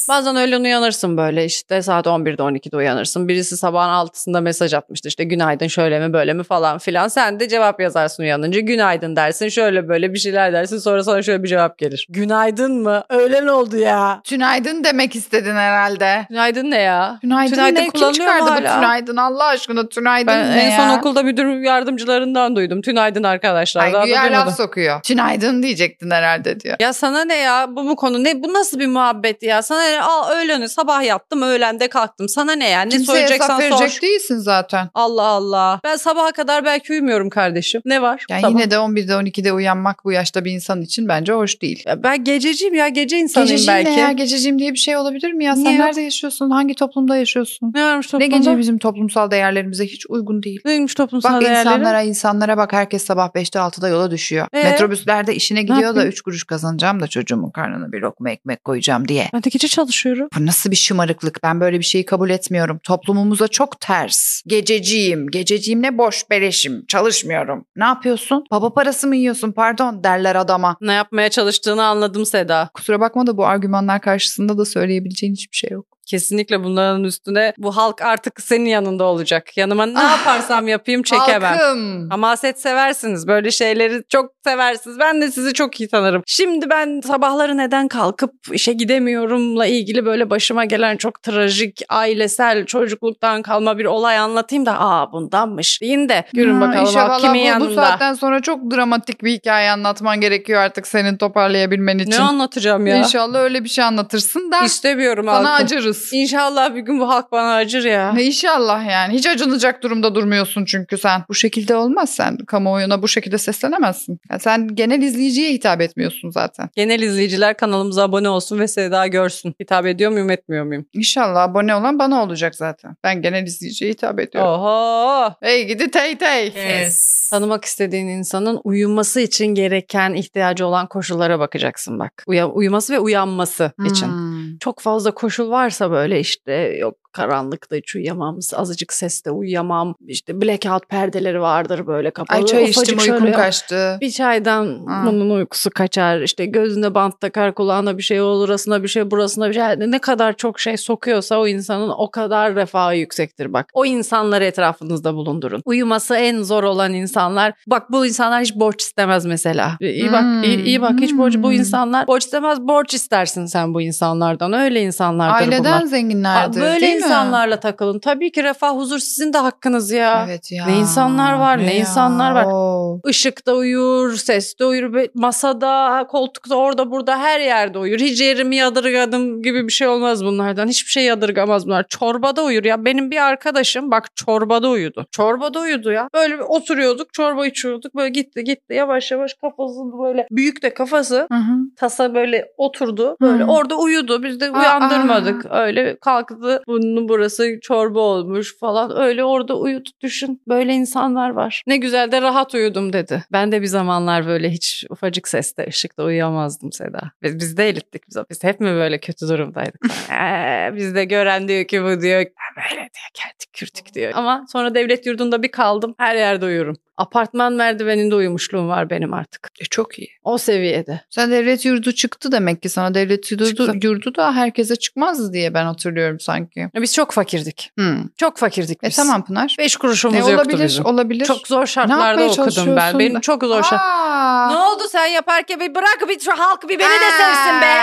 Speaker 1: Bazen öyle uyanırsın böyle işte saat 11'de 12'de uyanırsın. Birisi sabahın 6'sında mesaj atmıştı işte günaydın şöyle mi böyle mi falan filan. Sen de cevap yazarsın uyanınca günaydın dersin şöyle böyle bir şeyler dersin sonra sana şöyle bir cevap gelir. Günaydın mı? Öğlen oldu ya.
Speaker 2: Tünaydın demek istedin herhalde.
Speaker 1: Günaydın ne ya?
Speaker 2: Tünaydın,
Speaker 1: Tünaydın
Speaker 2: ne? Kim
Speaker 1: kullanıyor
Speaker 2: çıkardı
Speaker 1: mu
Speaker 2: bu
Speaker 1: hala?
Speaker 2: tünaydın Allah aşkına tünaydın
Speaker 1: Ben
Speaker 2: ne
Speaker 1: en
Speaker 2: ya?
Speaker 1: son okulda müdür yardımcılarından duydum. Tünaydın arkadaşlar.
Speaker 2: Ay,
Speaker 1: Daha da
Speaker 2: güya
Speaker 1: duymadım.
Speaker 2: laf sokuyor. Tünaydın diyecektin herhalde diyor.
Speaker 1: Ya sana ne ya bu mu konu ne bu nasıl bir muhabbet ya sana ne al öğleni sabah yattım öğlende kalktım sana ne ya ne
Speaker 2: Kimseye
Speaker 1: soracaksan
Speaker 2: hesap
Speaker 1: sor.
Speaker 2: verecek değilsin zaten.
Speaker 1: Allah Allah. Ben sabaha kadar belki uyumuyorum kardeşim. Ne var?
Speaker 2: Yani
Speaker 1: Tamam.
Speaker 2: yine de 11'de 12'de uyanmak bu yaşta bir insan için bence hoş değil.
Speaker 1: Ya ben gececiyim ya gece insanıyım
Speaker 2: Gececiyim
Speaker 1: belki.
Speaker 2: ne ya gececiyim diye bir şey olabilir mi ya? Sen
Speaker 1: Niye yok?
Speaker 2: nerede yaşıyorsun? Hangi toplumda yaşıyorsun?
Speaker 1: Ne varmış
Speaker 2: Ne
Speaker 1: toplumda?
Speaker 2: gece bizim toplumsal değerlerimize hiç uygun değil.
Speaker 1: Neymiş toplumsal
Speaker 2: Bak
Speaker 1: değerleri?
Speaker 2: insanlara insanlara bak herkes sabah 5'te 6'da yola düşüyor.
Speaker 1: Ee?
Speaker 2: Metrobüslerde işine gidiyor da
Speaker 1: yapayım?
Speaker 2: 3 kuruş kazanacağım da çocuğumun karnına bir lokma ekmek koyacağım diye.
Speaker 1: Ben de gece çalışıyorum.
Speaker 2: Bu nasıl bir şımarıklık? Ben böyle bir şeyi kabul etmiyorum. Toplumumuza çok ters. Gececiyim. Gececiyim ne boş beleşim. Çalışmıyorum. Ne yapıyorsun? Baba parası mı yiyorsun? Pardon derler adama.
Speaker 1: Ne yapmaya çalıştığını anladım Seda.
Speaker 2: Kusura bakma da bu argümanlar karşısında da söyleyebileceğin hiçbir şey yok.
Speaker 1: Kesinlikle bunların üstüne bu halk artık senin yanında olacak. Yanıma ne
Speaker 2: Ah,
Speaker 1: yaparsam yapayım çekemem.
Speaker 2: Halkım.
Speaker 1: Hamaset seversiniz. Böyle şeyleri çok seversiniz. Ben de sizi çok iyi tanırım. Şimdi ben sabahları neden kalkıp işe gidemiyorumla ilgili böyle başıma gelen çok trajik, ailesel, çocukluktan kalma bir olay anlatayım da aa bundanmış deyin de görün
Speaker 2: Ha,
Speaker 1: bakalım
Speaker 2: inşallah
Speaker 1: halk kimin
Speaker 2: bu,
Speaker 1: yanında.
Speaker 2: bu saatten sonra çok dramatik bir hikaye anlatman gerekiyor artık senin toparlayabilmen için.
Speaker 1: Ne anlatacağım ya?
Speaker 2: İnşallah öyle bir şey anlatırsın da
Speaker 1: İstemiyorum halkı.
Speaker 2: sana acırız.
Speaker 1: İnşallah bir gün bu halk bana acır ya.
Speaker 2: Ne İnşallah yani. Hiç acınacak durumda durmuyorsun çünkü sen. Bu şekilde olmaz sen. Kamuoyuna bu şekilde seslenemezsin. Ya sen genel izleyiciye hitap etmiyorsun zaten.
Speaker 1: Genel izleyiciler kanalımıza abone olsun ve Seda görsün. Hitap ediyor muyum etmiyor muyum?
Speaker 2: İnşallah abone olan bana olacak zaten. Ben genel izleyiciye hitap ediyorum.
Speaker 1: Oho!
Speaker 2: Hey gidi tey tey.
Speaker 1: Kes. Tanımak istediğin insanın uyuması için gereken ihtiyacı olan koşullara bakacaksın bak. Uya- uyuması ve uyanması için.
Speaker 2: Hmm.
Speaker 1: Çok fazla koşul varsa böyle işte yok karanlıkta hiç uyuyamam, azıcık seste uyuyamam. İşte blackout perdeleri vardır böyle kapalı.
Speaker 2: Ay çay
Speaker 1: Ufacık
Speaker 2: içtim
Speaker 1: şöyle-
Speaker 2: uykum kaçtı.
Speaker 1: Bir çaydan
Speaker 2: Hmm.
Speaker 1: bunun uykusu kaçar. İşte gözüne bant takar, kulağına bir şey olur, orasına bir şey, burasına bir şey. Ne kadar çok şey sokuyorsa o insanın o kadar refahı yüksektir bak. O insanları etrafınızda bulundurun. Uyuması en zor olan insanlar. Bak bu insanlar hiç borç istemez mesela. İyi bak,
Speaker 2: Hmm.
Speaker 1: iyi, iyi bak hiç borç bu
Speaker 2: Hmm.
Speaker 1: insanlar borç istemez, borç istersin sen bu insanlardan. Öyle insanlardır bunlar.
Speaker 2: Aileden
Speaker 1: Aa,
Speaker 2: zenginlerdir
Speaker 1: Böyle
Speaker 2: değil mi?
Speaker 1: insanlarla takılın. Tabii ki refah, huzur sizin de hakkınız ya.
Speaker 2: Evet ya.
Speaker 1: Ne insanlar var, ne
Speaker 2: ya.
Speaker 1: insanlar var.
Speaker 2: Oo.
Speaker 1: Işıkta uyur, seste uyur, be- masada, koltukta, orada burada her yerde uyur. Hiç yerimi yadırgadım gibi bir şey olmaz bunlardan. Hiçbir şey yadırgamaz bunlar. Çorbada uyur ya. Benim bir arkadaşım bak çorbada uyudu. Çorbada uyudu ya. Böyle bir oturuyorduk, çorba içiyorduk. Böyle gitti gitti yavaş yavaş kafasını böyle büyük de kafası
Speaker 2: Hı hı.
Speaker 1: tasa böyle oturdu. Böyle
Speaker 2: Hı.
Speaker 1: orada uyudu. Biz de
Speaker 2: Aa.
Speaker 1: uyandırmadık. Öyle kalktı. Bunun burası çorba olmuş falan. Öyle orada uyudu. Düşün. Böyle insanlar var. Ne güzel de rahat uyudum dedi. Ben de bir zamanlar böyle hiç ufacık seste, ışıkta uyuyamazdım Seda. Biz, biz de elittik. Biz, biz hep mi böyle kötü durumdaydık? Ee, biz de gören diyor ki bu diyor. "Ben Böyle diyor geldik kürtük diyor. Ama sonra devlet yurdunda bir kaldım. Her yerde uyurum. Apartman merdiveninde uyumuşluğum var benim artık.
Speaker 2: E, çok iyi.
Speaker 1: O seviyede.
Speaker 2: Sen devlet yurdu çıktı demek ki sana devlet yurdu,
Speaker 1: Çıktı.
Speaker 2: yurdu da herkese çıkmazdı diye ben hatırlıyorum sanki.
Speaker 1: Ya Biz çok fakirdik.
Speaker 2: Hmm.
Speaker 1: Çok fakirdik
Speaker 2: E
Speaker 1: biz.
Speaker 2: tamam Pınar.
Speaker 1: Beş
Speaker 2: E,
Speaker 1: kuruşumuz yoktu
Speaker 2: olabilir,
Speaker 1: bizim.
Speaker 2: olabilir.
Speaker 1: Çok zor
Speaker 2: Ne
Speaker 1: şartlarda
Speaker 2: yapmaya
Speaker 1: okudum ben.
Speaker 2: çalışıyorsun
Speaker 1: Benim
Speaker 2: da?
Speaker 1: çok zor şartlar. Ne oldu sen yaparken bir bırak bir şu halk bir beni de sevsin be.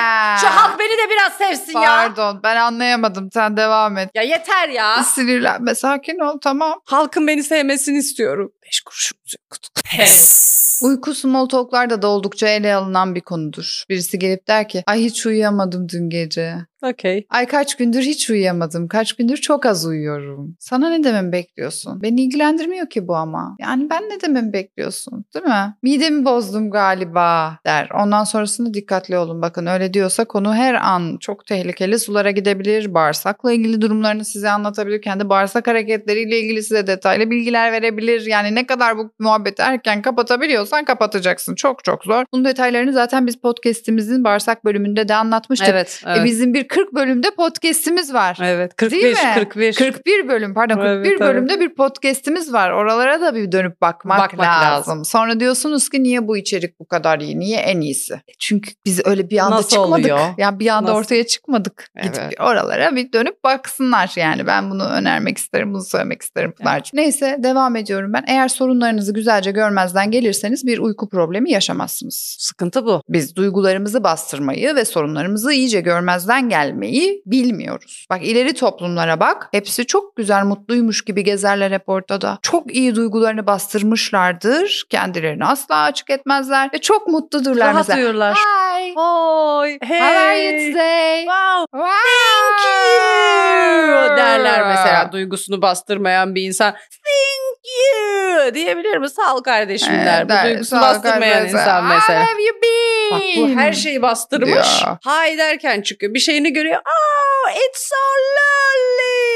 Speaker 1: Şu halk beni de biraz sevsin ya.
Speaker 2: Pardon ben anlayamadım sen devam et.
Speaker 1: Ya yeter ya.
Speaker 2: Sinirlenme sakin ol tamam.
Speaker 1: Halkın beni sevmesini istiyorum. Beş kuruşumuz yoktu. Pes.
Speaker 2: Uyku small talk'larda da oldukça ele alınan bir konudur. Birisi gelip der ki ay hiç uyuyamadım dün gece.
Speaker 1: Okey.
Speaker 2: Ay kaç gündür hiç uyuyamadım. Kaç gündür çok az uyuyorum. Sana ne dememi bekliyorsun? Beni ilgilendirmiyor ki bu ama. Yani ben ne dememi bekliyorsun? Değil mi? Midemi bozdum galiba der. Ondan sonrasında dikkatli olun bakın. Öyle diyorsa konu her an çok tehlikeli sulara gidebilir. Bağırsakla ilgili durumlarını size anlatabilir. Kendi bağırsak hareketleriyle ilgili size detaylı bilgiler verebilir. Yani ne kadar bu muhabbeti erken kapatabiliyorsan kapatacaksın. Çok çok zor. Bunun detaylarını zaten biz podcast'imizin bağırsak bölümünde de anlatmıştık.
Speaker 1: Evet.
Speaker 2: E,
Speaker 1: Evet.
Speaker 2: bizim bir 40 bölümde podcast'imiz var.
Speaker 1: evet.
Speaker 2: Değil
Speaker 1: 45
Speaker 2: mi?
Speaker 1: 41.
Speaker 2: 41 bölüm pardon
Speaker 1: Evet,
Speaker 2: 41
Speaker 1: evet.
Speaker 2: bölümde bir podcast'imiz var. Oralara da bir dönüp bakmak,
Speaker 1: Bakmak
Speaker 2: lazım.
Speaker 1: lazım.
Speaker 2: Sonra diyorsunuz ki niye bu içerik bu kadar iyi? Niye en iyisi? E, Çünkü biz öyle bir anda
Speaker 1: Nasıl
Speaker 2: çıkmadık.
Speaker 1: oluyor?
Speaker 2: Yani bir anda
Speaker 1: Nasıl?
Speaker 2: ortaya çıkmadık.
Speaker 1: Evet.
Speaker 2: Gidip oralara bir dönüp baksınlar yani. Ben bunu önermek isterim, bunu söylemek isterim Pınar'cığım. Neyse devam ediyorum ben. Eğer sorunlarınızı güzelce görmezden gelirseniz bir uyku problemi yaşamazsınız.
Speaker 1: Sıkıntı bu.
Speaker 2: Biz duygularımızı bastırmayı ve sorunlarımızı iyice görmezden gelmeyi bilmiyoruz. Bak ileri toplumlara bak. Hepsi çok güzel mutluymuş gibi gezerler hep ortada. Çok iyi duygularını bastırmışlardır. Kendilerini asla açık etmezler ve çok mutludurlar
Speaker 1: Rahat
Speaker 2: mesela.
Speaker 1: uyurlar.
Speaker 2: Hi.
Speaker 1: Oy.
Speaker 2: How are you today?
Speaker 1: Wow.
Speaker 2: Wow.
Speaker 1: you derler
Speaker 2: Ah.
Speaker 1: mesela duygusunu bastırmayan bir insan thank you diyebilir mi? Sağ ol kardeşim
Speaker 2: Ee,
Speaker 1: der. Bu
Speaker 2: der,
Speaker 1: duygusunu
Speaker 2: sağ ol
Speaker 1: bastırmayan
Speaker 2: kardeşim. Ah,
Speaker 1: insan mesela.
Speaker 2: How have you been?
Speaker 1: Bak bu her şey- şeyi bastırmış.
Speaker 2: Diyor.
Speaker 1: Hay derken çıkıyor. Bir şeyini görüyor. Oh it's so lonely.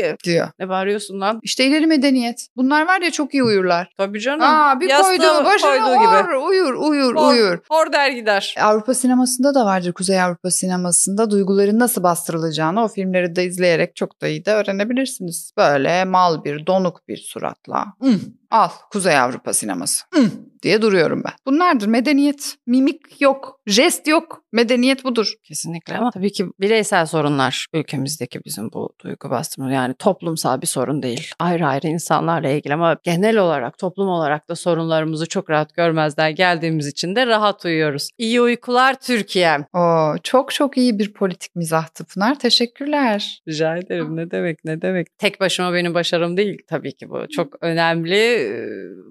Speaker 1: ki.
Speaker 2: diyor.
Speaker 1: Ne bağırıyorsun lan?
Speaker 2: İşte ileri medeniyet. Bunlar var ya çok iyi uyurlar.
Speaker 1: Tabii canım.
Speaker 2: Aa bir
Speaker 1: yastığı
Speaker 2: koydu başına
Speaker 1: koyduğu gibi.
Speaker 2: or, uyur uyur
Speaker 1: Hor-
Speaker 2: uyur.
Speaker 1: Hor der gider.
Speaker 2: Avrupa sinemasında da vardır. Kuzey Avrupa sinemasında duyguların nasıl bastırılacağını o filmleri de izleyerek çok da iyi de öğrenebilirsiniz. Böyle mal bir, donuk bir suratla. "Hmm, al Kuzey Avrupa sineması. Hmm," diye duruyorum ben. Bunlardır medeniyet. Mimik yok, jest yok. Medeniyet budur.
Speaker 1: Kesinlikle ama tabii ki bireysel sorunlar ülkemizdeki bizim bu duygu bastırma yani toplumsal bir sorun değil. Ayrı ayrı insanlarla ilgili ama genel olarak toplum olarak da sorunlarımızı çok rahat görmezden geldiğimiz için de rahat uyuyoruz. İyi uykular Türkiye'm.
Speaker 2: Oo, çok çok iyi bir politik mizahtı Pınar. Teşekkürler.
Speaker 1: Rica ederim ne demek ne demek. Tek başıma benim başarım değil tabii ki bu. Çok önemli e,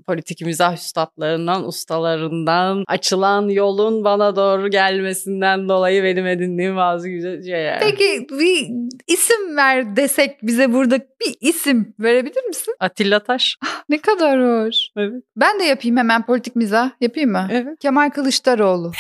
Speaker 1: politik mizah üstadlarından, ustalarından, açılan yolun bana doğru gelmesinden dolayı benim edindiğim bazı güzel şeyler.
Speaker 2: Peki bir isim ver desek bize burada bir isim verebilir misin?
Speaker 1: Atilla Taş.
Speaker 2: Ne kadar hoş.
Speaker 1: Evet.
Speaker 2: Ben de yapayım hemen politik mizah. Yapayım mı?
Speaker 1: evet.
Speaker 2: Kemal Kılıçdaroğlu.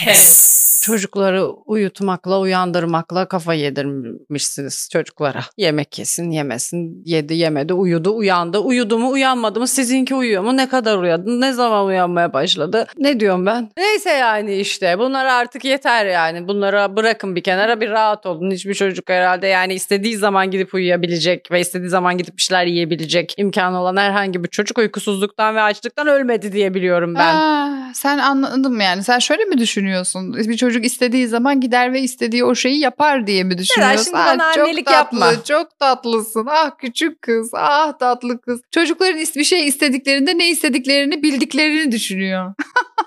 Speaker 1: Çocukları uyutmakla, uyandırmakla kafa yedirmişsiniz çocuklara. Yemek yesin, yemesin. Yedi, yemedi, uyudu, uyandı. Uyudu mu, uyanmadı mı? Sizinki uyuyor mu? Ne kadar uyandı? Ne zaman uyanmaya başladı? Ne diyorum ben? Neyse yani işte. Bunlar artık yeter yani. Bunlara bırakın bir kenara bir rahat olun. Hiçbir çocuk herhalde yani istediği zaman gidip uyuyabilecek ve istediği zaman gidip bir şeyler yiyebilecek imkanı olan herhangi bir çocuk uykusuzluktan ve açlıktan ölmedi diye biliyorum ben.
Speaker 2: Ha, sen anladım yani. Sen şöyle mi düşünüyorsun? Bir çocuk istediği zaman gider ve istediği o şeyi yapar diye mi düşünüyorsun? Ah,
Speaker 1: şimdi bana
Speaker 2: çok
Speaker 1: annelik
Speaker 2: tatlı,
Speaker 1: yapma.
Speaker 2: Çok tatlısın. Ah küçük kız. Ah tatlı kız. Çocukların is- bir şey istediklerinde ne istediklerini bildiklerini düşünüyor.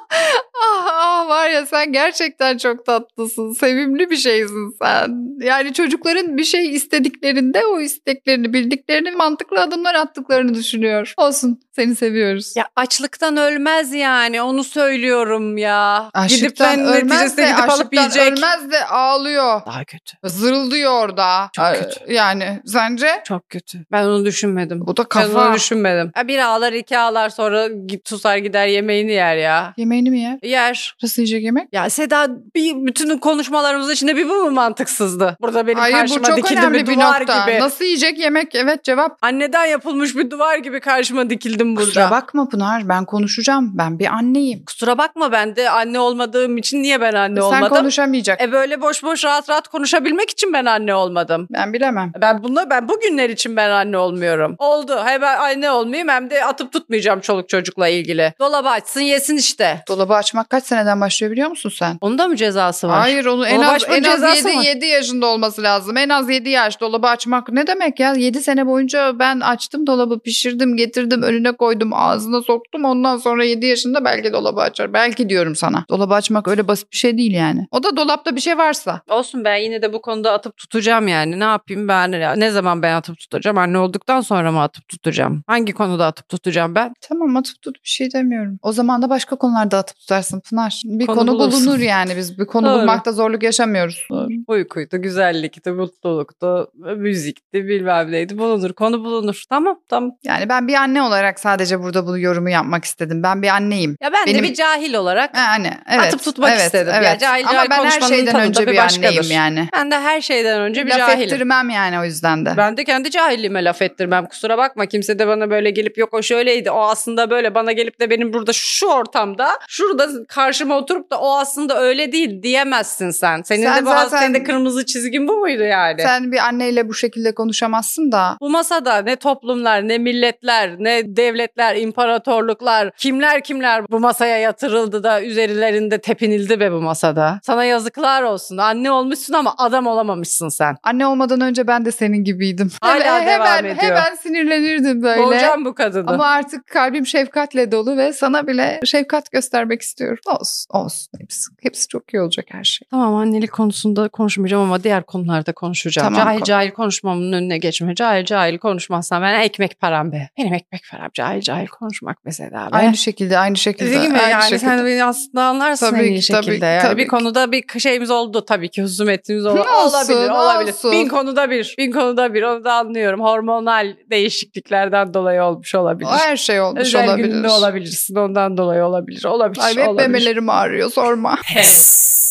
Speaker 2: ah, ah var ya sen gerçekten çok tatlısın. Sevimli bir şeysin sen. Yani çocukların bir şey istediklerinde o isteklerini bildiklerini mantıklı adımlar attıklarını düşünüyor. Olsun seni seviyoruz.
Speaker 1: Ya açlıktan ölmez yani onu söylüyorum ya.
Speaker 2: Açlıktan
Speaker 1: gidip ben
Speaker 2: ölmez
Speaker 1: neticesinde
Speaker 2: de,
Speaker 1: gidip alıp
Speaker 2: açlıktan
Speaker 1: yiyecek.
Speaker 2: ölmez de ağlıyor.
Speaker 1: Daha kötü.
Speaker 2: Zırıldıyor orada.
Speaker 1: Çok
Speaker 2: Ay,
Speaker 1: kötü.
Speaker 2: Yani sence?
Speaker 1: Çok kötü. Ben onu düşünmedim.
Speaker 2: Bu da
Speaker 1: Ben onu
Speaker 2: kafa.
Speaker 1: düşünmedim. Ya bir ağlar iki ağlar sonra git susar gider yemeğini yer ya.
Speaker 2: Yemeğini mi yer?
Speaker 1: Yer.
Speaker 2: Nasıl yiyecek yemek?
Speaker 1: Ya Seda bir bütün konuşmalarımızın içinde bir bu mu mantıksızdı? Burada benim
Speaker 2: Hayır bu
Speaker 1: karşıma
Speaker 2: çok
Speaker 1: dikildi
Speaker 2: önemli
Speaker 1: bir
Speaker 2: bir
Speaker 1: duvar
Speaker 2: nokta.
Speaker 1: gibi.
Speaker 2: Nasıl yiyecek yemek? Evet cevap.
Speaker 1: Anneden yapılmış bir duvar gibi karşıma dikildim burada.
Speaker 2: Kusura bakma Pınar ben konuşacağım. Ben bir anneyim.
Speaker 1: Kusura bakma ben de anne olmadığım için niye ben anne
Speaker 2: Sen
Speaker 1: olmadım?
Speaker 2: konuşamayacak.
Speaker 1: E böyle boş boş rahat rahat konuşabilmek için ben anne olmadım.
Speaker 2: Ben bilemem.
Speaker 1: Ben bunla ben bugünler için ben anne olmuyorum. Oldu. Hem ben anne olmayayım hem de atıp tutmayacağım çoluk çocukla ilgili. Dolabı açsın yesin işte.
Speaker 2: Dolabı açmak kaç seneden başlıyor biliyor musun sen?
Speaker 1: Onun da mı cezası var?
Speaker 2: Hayır onu en
Speaker 1: Dolabı
Speaker 2: az,
Speaker 1: açmanın
Speaker 2: en az
Speaker 1: cezası
Speaker 2: 7,
Speaker 1: mı?
Speaker 2: 7 yaşında olması lazım. En az 7 yaş dolabı açmak ne demek ya? 7 sene boyunca ben açtım dolabı pişirdim getirdim önüne koydum ağzına soktum. Ondan sonra 7 yaşında belki dolabı açar. Belki diyorum sana. Dolabı açmak öyle basit bir şey değil yani. O da dolapta bir şey varsa.
Speaker 1: Olsun ben yine de bu konuda atıp tutacağım yani. Ne yapayım ben? Ne zaman ben atıp tutacağım? Anne olduktan sonra mı atıp tutacağım? Hangi konuda atıp tutacağım ben?
Speaker 2: Tamam atıp tut bir şey demiyorum. O zaman da başka konularda atıp tutarsın Pınar. Bir
Speaker 1: Konu
Speaker 2: konu,
Speaker 1: bulursun.
Speaker 2: bulunur yani biz bir konu
Speaker 1: Doğru.
Speaker 2: bulmakta zorluk yaşamıyoruz.
Speaker 1: Uykuydu, güzellikti, mutluluktu, müzikti, bilmem neydi. Bulunur, konu bulunur. Tamam, tamam.
Speaker 2: Yani ben bir anne olarak sadece burada bu yorumu yapmak istedim. Ben bir anneyim.
Speaker 1: Ya ben
Speaker 2: Benim-
Speaker 1: de bir cahil olarak
Speaker 2: Yani evet.
Speaker 1: Atıp tutmak
Speaker 2: evet,
Speaker 1: istedim.
Speaker 2: Evet.
Speaker 1: Ya cahil
Speaker 2: Ama
Speaker 1: cahil
Speaker 2: ben her
Speaker 1: konuşmanın
Speaker 2: şeyden
Speaker 1: tadı
Speaker 2: önce
Speaker 1: tabii
Speaker 2: bir
Speaker 1: başkadır.
Speaker 2: anneyim yani.
Speaker 1: Ben de her şeyden önce bir
Speaker 2: Laf
Speaker 1: cahilim.
Speaker 2: ettirmem yani o yüzden de.
Speaker 1: Ben de kendi cahilliğime laf ettirmem. Kusura bakma kimse de bana böyle gelip yok o şöyleydi o aslında böyle bana gelip de benim burada şu ortamda şurada karşıma oturup da o aslında öyle değil diyemezsin sen. Senin
Speaker 2: Sen
Speaker 1: de bu zaten...
Speaker 2: zaten-
Speaker 1: de kırmızı çizgin bu muydu yani?
Speaker 2: Sen bir anneyle bu şekilde konuşamazsın da.
Speaker 1: Bu masada ne toplumlar, ne milletler, ne devletler, imparatorluklar, kimler kimler bu masaya yatırıldı da üzerlerinde tepinildi be bu masada. Sana yazıklar olsun. Anne olmuşsun ama adam olamamışsın sen.
Speaker 2: Anne olmadan önce ben de senin gibiydim.
Speaker 1: Hala
Speaker 2: hemen,
Speaker 1: devam
Speaker 2: hemen,
Speaker 1: ediyor.
Speaker 2: Hemen sinirlenirdim böyle.
Speaker 1: Boğacağım bu kadını.
Speaker 2: Ama artık kalbim şefkatle dolu ve sana bile şefkat göstermek istiyorum. Olsun, olsun. Hepsi, hepsi çok iyi olacak her şey.
Speaker 1: Tamam annelik konusunda konuşmayacağım ama diğer konularda konuşacağım.
Speaker 2: Tamam,
Speaker 1: cahil
Speaker 2: kon-
Speaker 1: cahil konuşmamın önüne geçme. Cahil cahil konuşmazsam ben ekmek param be. Benim ekmek param cahil cahil konuşmak mesela be.
Speaker 2: Aynı şekilde, aynı şekilde.
Speaker 1: Değil mi?
Speaker 2: aynı
Speaker 1: Yani
Speaker 2: şekilde.
Speaker 1: sen beni aslında anlarsın
Speaker 2: Tabii
Speaker 1: en iyi
Speaker 2: ki, tabii
Speaker 1: şekilde.
Speaker 2: ki,
Speaker 1: yani
Speaker 2: tabii
Speaker 1: bir
Speaker 2: ki.
Speaker 1: konuda bir şeyimiz oldu tabii ki husumetimiz oldu.
Speaker 2: Olsun,
Speaker 1: olabilir, olabilir.
Speaker 2: olsun.
Speaker 1: Bin konuda bir, bin konuda bir onu da anlıyorum. Hormonal değişikliklerden dolayı olmuş olabilir.
Speaker 2: O her şey olmuş
Speaker 1: Özel
Speaker 2: olabilir.
Speaker 1: gününde olabilirsin ondan dolayı olabilir. Olabilir,
Speaker 2: Ay hep
Speaker 1: olabilir.
Speaker 2: memelerim ağrıyor sorma.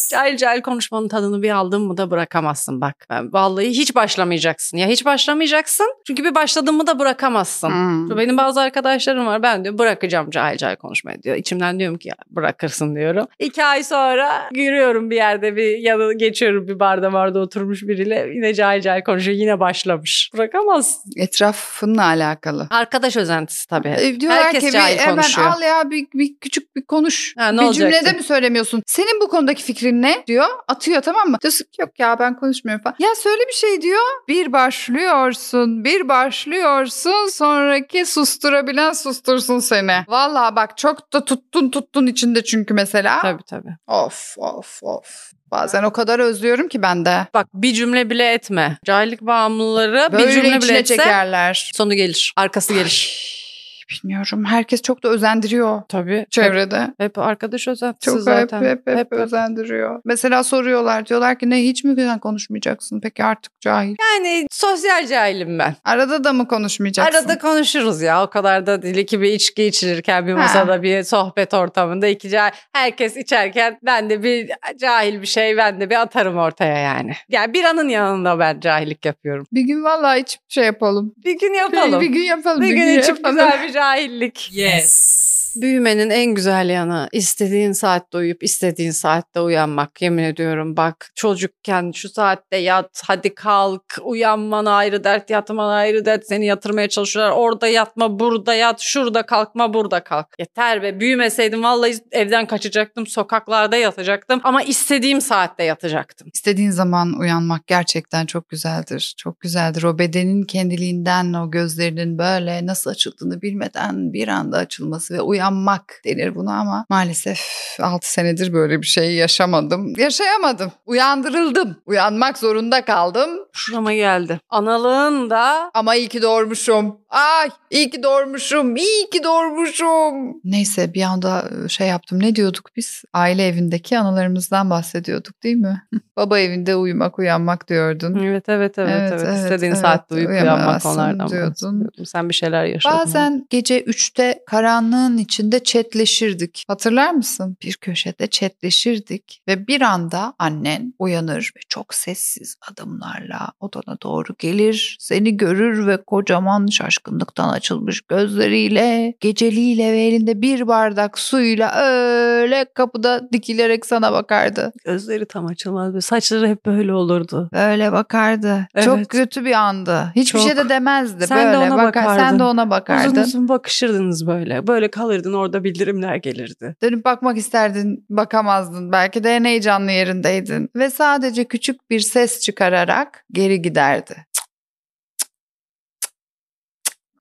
Speaker 1: Cahil cahil konuşmanın tadını bir aldın mı da bırakamazsın bak. Ben- Vallahi hiç başlamayacaksın. Ya hiç başlamayacaksın çünkü bir başladın mı da bırakamazsın.
Speaker 2: Hmm.
Speaker 1: Benim bazı arkadaşlarım var ben diyor bırakacağım cahil cahil konuşmayı diyor. İçimden diyorum ki ya bırakırsın diyorum. İki ay sonra giriyorum bir yerde bir ya da geçiyorum bir barda barda oturmuş biriyle yine cahil cahil konuşuyor yine başlamış. Bırakamazsın.
Speaker 2: Etrafınla alakalı.
Speaker 1: Arkadaş özentisi tabii.
Speaker 2: E, Diyorlar
Speaker 1: Herkes
Speaker 2: ki bir,
Speaker 1: cahil
Speaker 2: hemen
Speaker 1: konuşuyor.
Speaker 2: al ya bir, bir küçük bir konuş.
Speaker 1: Ha, ne
Speaker 2: bir
Speaker 1: olacaktı?
Speaker 2: cümlede mi söylemiyorsun? Senin bu konudaki fikrin ne? diyor. Atıyor tamam mı? Diyorsun ki, yok ya ben konuşmuyorum falan. Ya söyle bir şey diyor. Bir başlıyorsun, bir başlıyorsun. Sonraki susturabilen sustursun seni. Valla bak çok da tuttun tuttun içinde çünkü mesela.
Speaker 1: Tabii tabii.
Speaker 2: Of of of. Bazen o kadar özlüyorum ki ben de.
Speaker 1: Bak bir cümle bile etme. Cahillik bağımlıları bir
Speaker 2: Böyle
Speaker 1: cümle bile
Speaker 2: içine
Speaker 1: etse
Speaker 2: çekerler.
Speaker 1: sonu gelir. Arkası gelir.
Speaker 2: Ay, Bilmiyorum. Herkes çok da özendiriyor
Speaker 1: Tabii.
Speaker 2: çevrede.
Speaker 1: Hep arkadaş özentisi
Speaker 2: Çok
Speaker 1: zaten.
Speaker 2: hep, hep, hep, özendiriyor. Mesela soruyorlar diyorlar ki ne hiç mi güzel konuşmayacaksın? Peki artık cahil.
Speaker 1: Yani sosyal cahilim ben.
Speaker 2: Arada da mı konuşmayacaksın?
Speaker 1: Arada konuşuruz ya. O kadar da değil ki bir içki içilirken bir
Speaker 2: Ha.
Speaker 1: masada bir sohbet ortamında iki cahil. Herkes içerken ben de bir cahil bir şey ben de bir atarım ortaya yani. Yani bir anın yanında ben cahillik yapıyorum.
Speaker 2: Bir gün vallahi içip şey yapalım.
Speaker 1: Bir gün
Speaker 2: Bir-
Speaker 1: yapalım.
Speaker 2: Bir gün yapalım.
Speaker 1: bir, gün içip
Speaker 2: yapalım.
Speaker 1: güzel bir cahillik.
Speaker 3: Yes.
Speaker 1: Büyümenin en güzel yanı istediğin saatte uyuyup istediğin saatte uyanmak. Yemin ediyorum bak çocukken şu saatte yat hadi kalk uyanman ayrı dert yatman ayrı dert seni yatırmaya çalışıyorlar. Orada yatma burada yat şurada kalkma burada kalk. Yeter be büyümeseydim vallahi evden kaçacaktım sokaklarda yatacaktım ama istediğim saatte yatacaktım.
Speaker 2: İstediğin zaman uyanmak gerçekten çok güzeldir. Çok güzeldir. O bedenin kendiliğinden o gözlerinin böyle nasıl açıldığını bilmeden bir anda açılması ve uyanmak denir buna ama maalesef 6 senedir böyle bir şey yaşamadım. Yaşayamadım. Uyandırıldım. Uyanmak zorunda kaldım.
Speaker 1: Şurama geldi. Analığın da
Speaker 2: Ama iyi ki doğurmuşum. Ay iyi ki doğurmuşum. İyi ki doğurmuşum. Neyse bir anda şey yaptım. Ne diyorduk biz? Aile evindeki analarımızdan bahsediyorduk değil mi? Baba evinde uyumak uyanmak diyordun.
Speaker 1: Evet evet evet
Speaker 2: Evet,
Speaker 1: evet.
Speaker 2: evet,
Speaker 1: İstediğin
Speaker 2: evet.
Speaker 1: saatte uyuyup uyanmak
Speaker 2: Uyuyamazsın
Speaker 1: onlardan
Speaker 2: diyordun.
Speaker 1: bahsediyordum. Sen bir şeyler yaşadın.
Speaker 2: Bazen gece 3'te karanlığın içinde çetleşirdik. Hatırlar mısın? Bir köşede çetleşirdik ve bir anda annen uyanır ve çok sessiz adımlarla odana doğru gelir. Seni görür ve kocaman şaşkınlıktan açılmış gözleriyle, geceliğiyle ve elinde bir bardak suyla öyle kapıda dikilerek sana bakardı.
Speaker 1: Gözleri tam açılmaz. Böyle saçları hep böyle olurdu.
Speaker 2: Böyle bakardı. Çok
Speaker 1: Evet.
Speaker 2: kötü bir andı. Hiçbir
Speaker 1: Çok.
Speaker 2: şey de demezdi.
Speaker 1: Sen de
Speaker 2: böyle
Speaker 1: ona
Speaker 2: bakar, sen
Speaker 1: bakardın.
Speaker 2: de ona bakardın.
Speaker 1: Uzun uzun bakışırdınız böyle. Böyle kalırdın orada bildirimler gelirdi.
Speaker 2: Dönüp bakmak isterdin, bakamazdın. Belki de en heyecanlı yerindeydin. Ve sadece küçük bir ses çıkararak geri giderdi.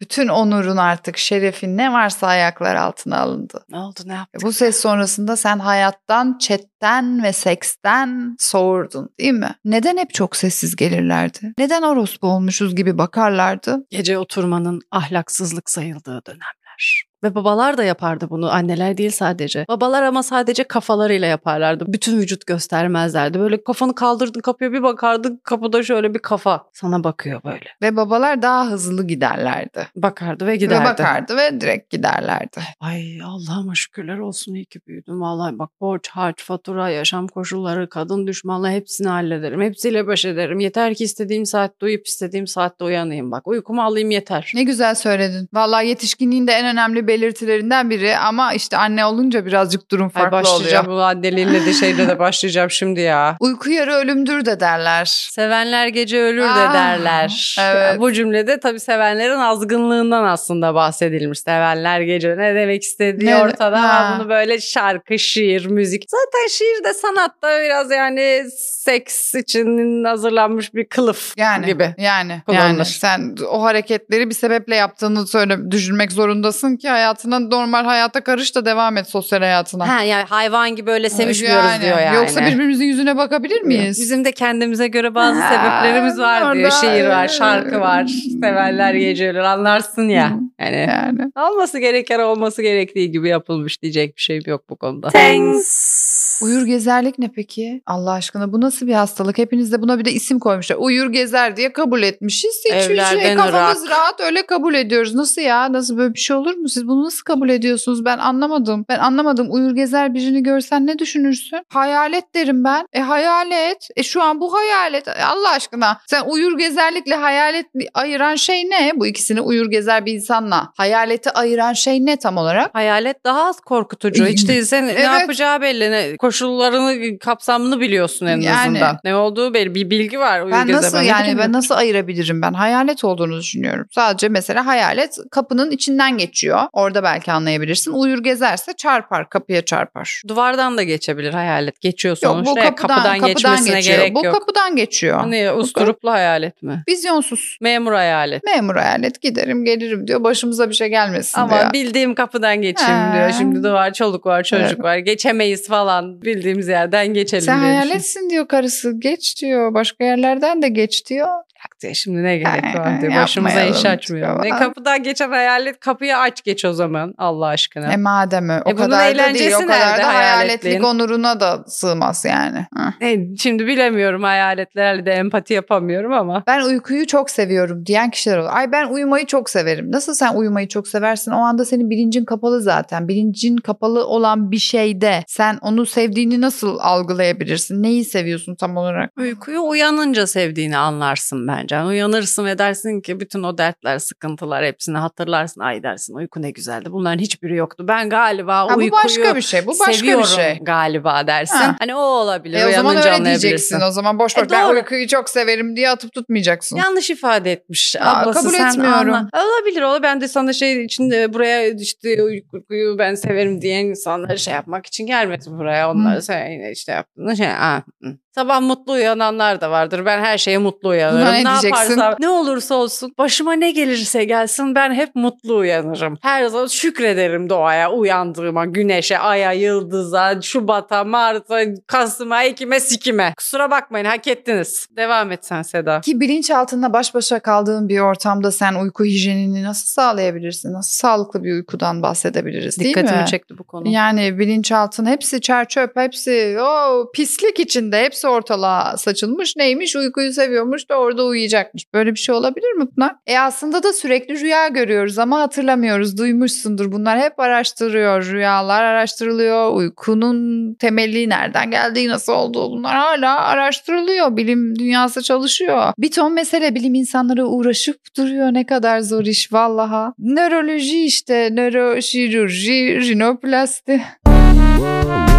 Speaker 2: Bütün onurun artık, şerefin ne varsa ayaklar altına alındı. E
Speaker 1: Ne oldu ne yaptık?
Speaker 2: Bu ses sonrasında sen hayattan, chatten ve seksten soğurdun değil mi? Neden hep çok sessiz gelirlerdi? Neden orospu olmuşuz gibi bakarlardı?
Speaker 1: Gece oturmanın ahlaksızlık sayıldığı dönemler. Ve babalar da yapardı bunu. Anneler değil sadece. Babalar ama sadece kafalarıyla yaparlardı. Bütün vücut göstermezlerdi. Böyle kafanı kaldırdın kapıya bir bakardın. Kapıda şöyle bir kafa sana bakıyor böyle.
Speaker 2: Ve babalar daha hızlı giderlerdi.
Speaker 1: Bakardı ve giderdi.
Speaker 2: Ve bakardı ve direkt giderlerdi.
Speaker 1: Ay Allah'ıma şükürler olsun iyi ki büyüdüm. Vallahi bak borç, harç, fatura, yaşam koşulları, kadın düşmanlığı hepsini hallederim. Hepsiyle baş ederim. Yeter ki istediğim saatte uyuyup istediğim saatte uyanayım bak. Uykumu alayım yeter.
Speaker 2: Ne güzel söyledin. Vallahi yetişkinliğin de en önemli belirtilerinden biri ama işte anne olunca birazcık durum
Speaker 1: Ay
Speaker 2: farklı
Speaker 1: başlayacağım
Speaker 2: oluyor.
Speaker 1: bu anneliğinle de şeyle de başlayacağım şimdi ya.
Speaker 2: Uyku yarı ölümdür de derler.
Speaker 1: Sevenler gece ölür
Speaker 2: Ah,
Speaker 1: de derler.
Speaker 2: evet.
Speaker 1: Bu cümlede tabii sevenlerin azgınlığından aslında bahsedilmiş. Sevenler gece ne demek istediği
Speaker 2: Ne-
Speaker 1: ortada
Speaker 2: Ha.
Speaker 1: ama bunu böyle şarkı, şiir, müzik. Zaten şiir de sanatta biraz yani seks için hazırlanmış bir kılıf
Speaker 2: Yani
Speaker 1: gibi.
Speaker 2: yani
Speaker 1: Kullanılır.
Speaker 2: yani sen o hareketleri bir sebeple yaptığını söyle düşünmek zorundasın ki hayatına normal hayata karış da devam et sosyal hayatına.
Speaker 1: Ha yani hayvan gibi öyle sevişmiyoruz
Speaker 2: Yani,
Speaker 1: diyor yani.
Speaker 2: Yoksa birbirimizin yüzüne bakabilir miyiz?
Speaker 1: Bizim de kendimize göre bazı
Speaker 2: Ha,
Speaker 1: sebeplerimiz var diyor.
Speaker 2: orada-
Speaker 1: Şiir var, şarkı var. Sevenler gece ölür anlarsın ya. Yani
Speaker 2: yani.
Speaker 1: Olması gereken olması gerektiği gibi yapılmış diyecek bir şeyim yok bu konuda.
Speaker 3: Thanks.
Speaker 2: Uyur gezerlik ne peki? Allah aşkına bu nasıl bir hastalık? Hepiniz de buna bir de isim koymuşlar. Uyur gezer diye kabul etmişiz. Hiçbir şey
Speaker 1: Evlerden
Speaker 2: kafamız
Speaker 1: ırak.
Speaker 2: rahat öyle kabul ediyoruz. Nasıl ya? Nasıl böyle bir şey olur mu? Siz bunu nasıl kabul ediyorsunuz? Ben anlamadım. Ben anlamadım. Uyur gezer birini görsen ne düşünürsün? Hayalet derim ben. E hayalet. E şu an bu hayalet. E, Allah aşkına. Sen uyur gezerlikle hayalet ayıran şey ne? Bu ikisini uyur gezer bir insanla hayaleti ayıran şey ne tam olarak?
Speaker 1: Hayalet daha az korkutucu. Hiç değilse ne
Speaker 2: Evet.
Speaker 1: yapacağı belli. Ne, koşullarını, kapsamını biliyorsun en
Speaker 2: Yani.
Speaker 1: azından. Ne olduğu belli. Bir bilgi var. Uyur
Speaker 2: Ben
Speaker 1: geze,
Speaker 2: nasıl
Speaker 1: ne
Speaker 2: yani
Speaker 1: bileyim.
Speaker 2: ben nasıl ayırabilirim ben hayalet olduğunu düşünüyorum. Sadece mesela hayalet kapının içinden geçiyor. Orada belki anlayabilirsin. Uyur gezerse çarpar kapıya çarpar.
Speaker 1: Duvardan da geçebilir hayalet. Geçiyor
Speaker 2: Yok
Speaker 1: sonuçta.
Speaker 2: bu
Speaker 1: Ya,
Speaker 2: kapıdan, kapıdan,
Speaker 1: geçmesine
Speaker 2: geçiyor.
Speaker 1: gerek
Speaker 2: bu
Speaker 1: yok.
Speaker 2: kapıdan geçiyor.
Speaker 1: Hani usturuplu hayalet mi?
Speaker 2: Vizyonsuz.
Speaker 1: Memur hayalet.
Speaker 2: Memur hayalet giderim gelirim diyor. Başımıza bir şey gelmesin
Speaker 1: Ama
Speaker 2: diyor.
Speaker 1: bildiğim kapıdan geçeyim
Speaker 2: Ha.
Speaker 1: diyor. Şimdi de var çoluk var çocuk
Speaker 2: Evet.
Speaker 1: var. Geçemeyiz falan. Bildiğimiz yerden geçelim
Speaker 2: Sen
Speaker 1: diye
Speaker 2: hayaletsin diyor karısı. Geç diyor. Başka yerlerden de geç diyor.
Speaker 1: düşünüyorum. Ya Şimdi ne gerek var diyor.
Speaker 2: Ha,
Speaker 1: Başımıza iş
Speaker 2: yapmayalım
Speaker 1: açmıyor. Ne
Speaker 2: diyor.
Speaker 1: kapıdan geçen hayalet kapıyı aç geç o zaman Allah aşkına.
Speaker 2: E madem ö- o
Speaker 1: E bunun
Speaker 2: kadar da değil.
Speaker 1: eğlencesi
Speaker 2: O kadar
Speaker 1: nerede
Speaker 2: da hayaletlik
Speaker 1: hayaletliğin?
Speaker 2: onuruna da sığmaz yani. Hı.
Speaker 1: E, Şimdi bilemiyorum hayaletlerle de empati yapamıyorum ama.
Speaker 2: Ben uykuyu çok seviyorum diyen kişiler olur. Ay ben uyumayı çok severim. Nasıl sen uyumayı çok seversin? O anda senin bilincin kapalı zaten. Bilincin kapalı olan bir şeyde sen onu sevdiğini nasıl algılayabilirsin? Neyi seviyorsun tam olarak?
Speaker 1: Uykuyu uyanınca sevdiğini anlarsın bence. Yani uyanırsın ve dersin ki bütün o dertler, sıkıntılar hepsini hatırlarsın. Ay dersin uyku ne güzeldi. Bunların hiçbiri yoktu. Ben galiba
Speaker 2: Ha, bu
Speaker 1: uykuyu
Speaker 2: başka bir şey. Bu başka
Speaker 1: seviyorum
Speaker 2: bir şey.
Speaker 1: galiba dersin.
Speaker 2: Ha.
Speaker 1: Hani o olabilir.
Speaker 2: E o zaman
Speaker 1: uyanınca
Speaker 2: öyle
Speaker 1: anlayabilirsin.
Speaker 2: diyeceksin. O zaman boş
Speaker 1: E
Speaker 2: ver. ben
Speaker 1: doğru.
Speaker 2: uykuyu çok severim diye atıp tutmayacaksın.
Speaker 1: Yanlış ifade etmiş.
Speaker 2: Aa,
Speaker 1: Ablası
Speaker 2: kabul
Speaker 1: sen
Speaker 2: etmiyorum.
Speaker 1: anla. Olabilir ola. Ben de sana şey için e, buraya işte uykuyu ben severim diyen insanları şey yapmak için gelmedim buraya. Onları
Speaker 2: Hı.
Speaker 1: sen yine işte yaptın. Şey, aa, hı. Sabah mutlu uyananlar da vardır. Ben her şeye mutlu uyanırım.
Speaker 2: Buna ne
Speaker 1: ne
Speaker 2: diyeceksin?
Speaker 1: yaparsam ne olursa olsun başıma ne gelirse gelsin ben hep mutlu uyanırım. Her zaman şükrederim doğaya, uyandığıma, güneşe, aya, yıldıza, Şubat'a, Mart'a, Kasım'a, Ekim'e, Sikim'e. Kusura bakmayın hak ettiniz. Devam et sen Seda.
Speaker 2: Ki bilinçaltında baş başa kaldığın bir ortamda sen uyku hijyenini nasıl sağlayabilirsin? Nasıl sağlıklı bir uykudan bahsedebiliriz değil mi?
Speaker 1: Dikkatimi çekti bu konu.
Speaker 2: Yani bilinçaltın hepsi çer çöp, hepsi o pislik içinde hepsi ortalığa saçılmış. Neymiş uykuyu seviyormuş da orada uyuyacakmış. Böyle bir şey olabilir mi Pınar? E aslında da sürekli rüya görüyoruz ama hatırlamıyoruz. Duymuşsundur bunlar hep araştırıyor. Rüyalar araştırılıyor. Uykunun temeli nereden geldiği nasıl olduğu bunlar hala araştırılıyor. Bilim dünyası çalışıyor. Bir ton mesele bilim insanları uğraşıp duruyor. Ne kadar zor iş vallaha. Nöroloji işte, nöroşirurji, rinoplasti.
Speaker 3: Whoa,